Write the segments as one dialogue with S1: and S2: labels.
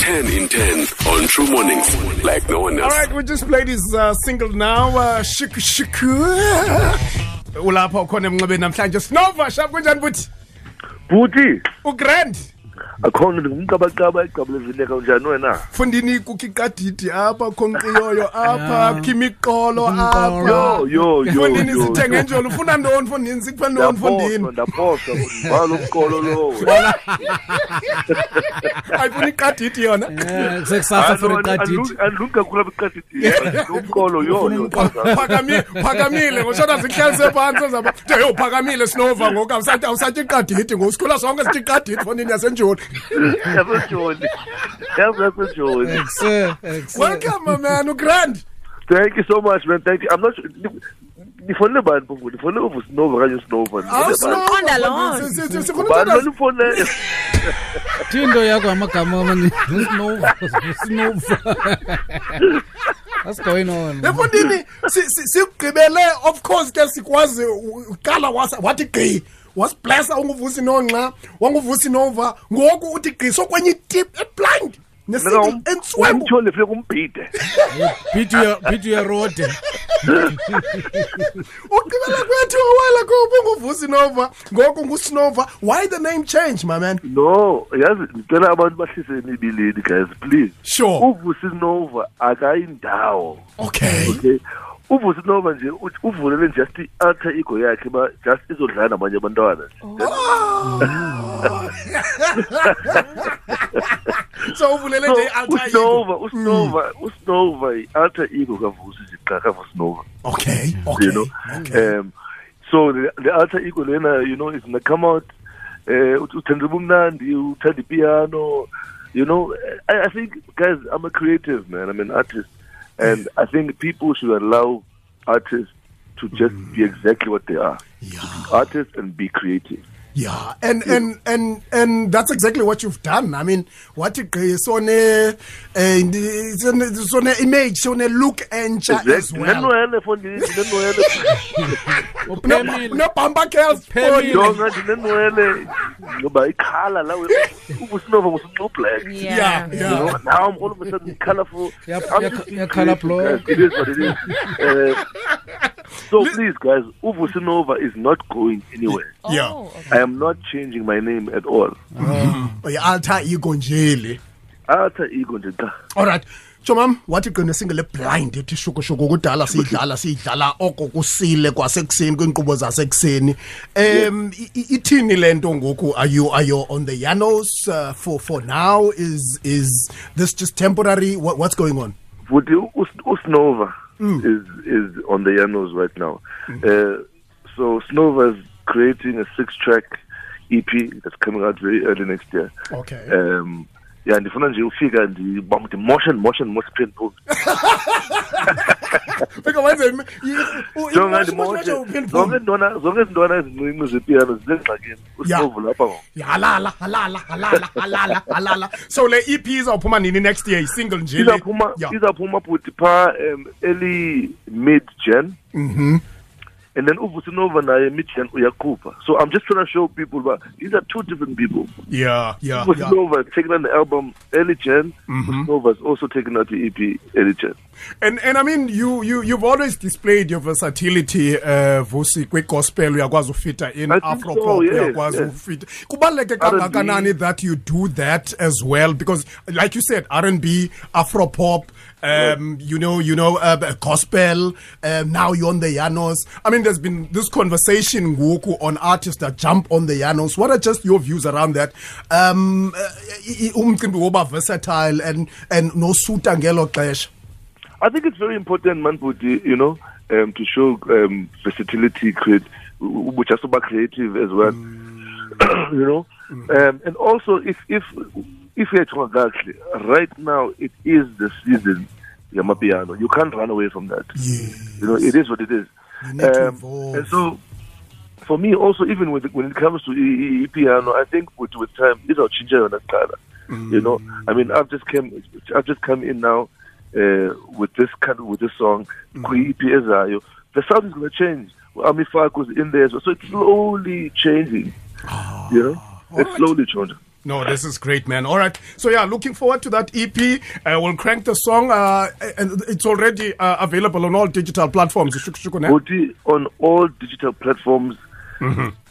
S1: 10 in 10 on True Mornings, like no one
S2: All
S1: else.
S2: right, we just played his uh, single now. Uh, shiku shiku. Ulapha ukhona emncebeni namhlanje. Snova shap kunjani buthi?
S3: buthi
S2: Ugrand.
S3: akhona ndingumqabaqaba egqabulezileka unjani wena
S2: Fundini kukiqadidi apha khonqiyoyo apha khimiqolo
S3: yo
S2: apha.
S3: yo yo
S2: Fundini
S3: yo,
S2: sithe
S3: yo.
S2: ngenjolo ufuna ntoni fundini sikuphe ntoni
S3: ndaphoswa
S2: fundini.
S3: ndaphoswa futhi. bhala umkolo lowo
S2: Ayifuna iqadidi yona.
S4: Eh, sekusasa for iqadidi
S3: andilungi kakhulu abeqadithi umkolo yo yo
S2: Phakami phakamile ngoshona zikhlelise phansi zaba. Yo phakamile Snova ngoku awusathi awusathi iqadidi ngosikhula sonke sithi iqadidi fundini yasenjolo.
S3: yasejoni
S4: Eh.
S3: yasejoni
S4: Ekuse, ekuse.
S2: Welcome my man uGrand.
S3: thank you so much man thank you i'm not sure- ni- nifonele bani bungu nifonele uvusnova kanye usnova
S5: Awusiqonda loo nto.
S3: bani
S2: nto.
S3: manifonele
S4: Tindo yakho amagama amaninzi Snova Snova What's going on
S2: Efundini si- si- sikugqibele of course ke sikwazi u- uqala wasa- wathi gqi wasiblessa unguvusi nonxa wanguvusi nova ngoku uthi gqi sokwenye itip eblind nesingle entswembu
S3: umthole funeka umbhide
S4: Beat your beat your road
S2: ugqibela kwethu awela kubo unguvusi nova ngoku ngusnova why the name change my man
S3: no yazi ndicela abantu bahlise emibilini guys please
S2: sure
S3: uvusi nova akayindawo
S2: okay
S3: okay uvusi nova nje u- uvulele nje just i-alter ego yakhe ba just izodlala nabanye abantwana nje
S2: so uvulele
S3: so
S2: nje i-alter ego.
S3: usnova usnova usnova i-alter ego kavusi nje qa kavusi nova
S2: okay okay
S3: you know um so the, the alter ego lena you know is gonna come out eh uthi uthanda ubumnandi uthanda ipiano you know I, i think guys i'm a creative man i'm an artist and i think people should allow artists to just be exactly what they are
S2: yeah
S3: artists and be creative
S2: Yeah, and and and and that's exactly what you've done. I mean, what sone eh, sone image, sone look entsha as well.
S3: ndinenwele fo ndinenwele
S4: Uphemile
S2: No bamba girls. oh,
S4: Pamela.
S3: jonga ndinenwele ngoba ikhala lawe ubusinova businxublack
S2: Yeah,
S5: Yeah.
S3: You
S2: yeah.
S3: know, now I'm all of a sudden colorful.
S4: Yeah,
S3: I'm
S4: yeah,
S3: just being
S4: yeah,
S3: creative,
S4: colourblind.
S3: guys. It is what it is. Uh, so please, guys, Uvusinova is not going anywhere.
S2: Yeah. Oh,
S5: Oh,
S3: I
S5: okay.
S3: am not changing my name at all.
S2: Alter ego njele.
S3: Alter ego nje cha.
S2: All right. Chomam, wathi gqine single blind ethi shuku shuku kudala siyidlala siyidlala oko kusile kwasekuseni kwinkqubo zasekuseni. Um i- i- ithini lento ngoku are you are you on the Yanos uh, for for now is is this just temporary what, what's going on?
S3: Futhi us uSnova is is on the Yanos right now.
S4: Mm-hmm.
S3: Uh, so Snova's creating a six-track EP that's coming out very early next year.
S2: Okay.
S3: Um, yeah, ndifuna nje ufika ndimoshe ndimoshe ndimoshe print book.
S2: Bika wenze imi- i- u- i-
S3: jonga
S2: much- much- much awuphenduli.
S3: zonke intwana zonke izintwana ezincinci zepiano zisengxakini
S2: Yeah.
S3: usinovu lapha ngo
S2: Yeah, halala halala halala halala halala. So le EP izawuphuma nini next year? Single nje le.
S3: izawuphuma
S2: Yeah.
S3: izawuphuma bhuti phaa um early mid jan and then uvusinova naye mid jan uyakhupha so i'm just trying to show people uba these are two different people
S2: Yeah, yeah, yeah.
S3: uvusinova is taking out the album early jan uvusinova is also taking out the ep early jan
S2: And and I mean you you you've always displayed your versatility uh Vusi kwi gospel uyakwazi ufita in
S3: I think
S2: afro
S3: so,
S2: pop
S3: yes,
S2: uyakwazi
S3: yes.
S2: ufita kubaleke kangakanani
S3: R&B.
S2: that you do that as well because like you said R&B afro pop um you know you know uh, gospel um, now you're on the Yanos I mean there's been this conversation ngoku on artists that jump on the Yanos what are just your views around that um uh, i- i- umcimbi woba versatile and and no suta ngelo xesha
S3: I think it's very important, man, but, you know, um, to show um, versatility, create, which also about creative as well, you know. Um, and also, if if if you're talking about right now, it is the season, Yamapiano. You can't run away from that. You know, it is what it is.
S2: You need to evolve.
S3: Um, and so, for me, also, even with, when it comes to e- e- piano, I think with, with time, it's all change on that You know, I mean, I've just came, I've just come in now uh, with this kind of, with this song, mm. The sound is going to change. Ami Fark was in there, so it's slowly changing. You know, it's slowly changing.
S2: No, this is great, man. All right. So, yeah, looking forward to that EP. Uh, we'll crank the song, uh, and it's already uh, available on all digital platforms. Shuk- shuk- ne?
S3: Buti on all digital platforms.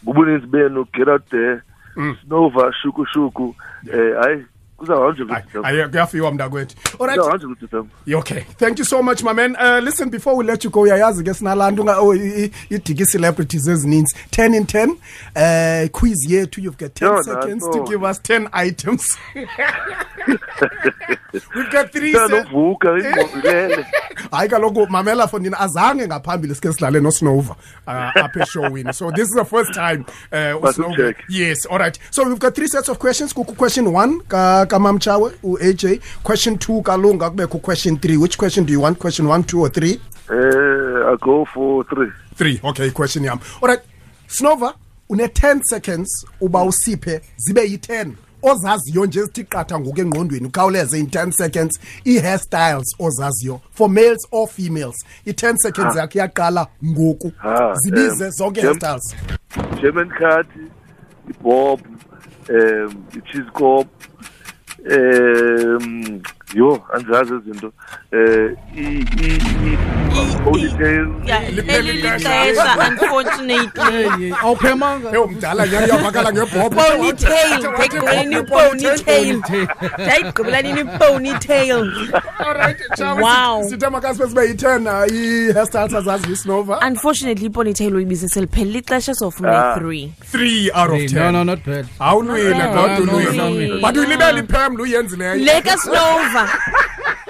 S3: Bubunis Benu, get out there. Snova, Shuku Shuku. Eh, Aye, kuzawuhanjwa
S2: Ay-
S3: ukuthi
S2: ay- kuyafiwa mntakwethu all right
S3: kuzawuhanjwa ukuthi tam.
S2: Yeah, okay thank you so much my man uh, listen before we let you go uyayazi ke sinalaa nto nga- oh, i- i- idiki celebrities ezininzi 10 in 10 uh, quiz yethu you've got 10
S3: Yona,
S2: seconds to
S3: so-
S2: give us 10 items we've got three se-
S3: Ndanovuka ingqondo
S2: hayi kaloku mamela fondini azange ngaphambili sikhe sidlale nosnova uh, apha eshowini so this is the first time uh, usnova
S3: check.
S2: yes all right so we've got three sets of questions kukho question one ka- kamamtshawe u-aj question two kalunga kubekho question three which question do you want question one two or three
S3: Eh, I go for three.
S2: three okay question yam all right snova une-10 seconds uba usiphe zibe yi-10 ozaziyo nje ezithi qatha ngoku engqondweni ukhawuleze in-10 seconds i-hair styles ozaziyo for males or females i-10 seconds yakho iyaqala ngoku
S3: Ha,
S2: zibize
S3: Ah. em,
S2: zonke
S3: Jem-
S2: hair styles
S3: German card, Bob, um, cheese corp, um, yo, anzazi izinto. Eh, i i i ponytail.
S5: Yeah, leli lixesha unfortunately
S4: awuphemanga
S2: eyo mdala nyani uyavakala ngebhobho
S5: ponytail ndayigqibela nini i-ponytail ndayigqibela nini i-ponytail Wow.
S2: sithe makasibe sibe yi-10 uh, i-hair styles azaziyo isnova
S5: unfortunately i-ponytail uyibize seliphelile ixesha sofuna
S3: Ah.
S5: i-three
S2: 3 out of 10
S4: no no not bad
S2: awulwile
S4: No,
S2: kodwa
S4: no,
S2: ulwile
S5: no.
S2: but uyilibele iphem luyenzileyo
S5: leka snova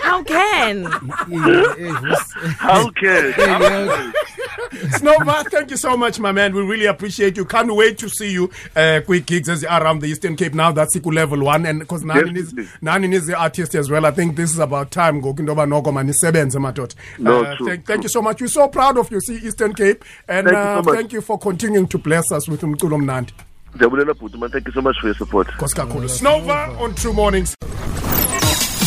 S5: how can
S3: How can?
S2: Snowma, thank you so much, my man. We really appreciate you. Can't wait to see you. Uh, quick gigs as you are around the Eastern Cape now. That's Siku level one. And because Nanin is,
S3: Definitely.
S2: Nanin is the artist as well. I think this is about time. Go Kindoba Nogo Manisebenze Matot.
S3: No,
S2: Uh,
S3: true,
S2: thank, thank you so much. We're so proud of you, see Eastern Cape. And
S3: Thank you
S2: uh,
S3: so much.
S2: thank you for continuing to bless us with Mkulom Nandi.
S3: Ndiyabulela bhuti man, thank you so much for your support.
S2: Snova on True Mornings.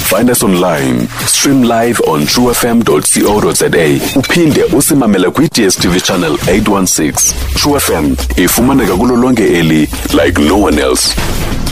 S1: Find us online. Stream live on truefm.co.za. Uphinde usimamele kwi-DSTV channel 816. True FM ifumaneka kulo lonke eli like no one else.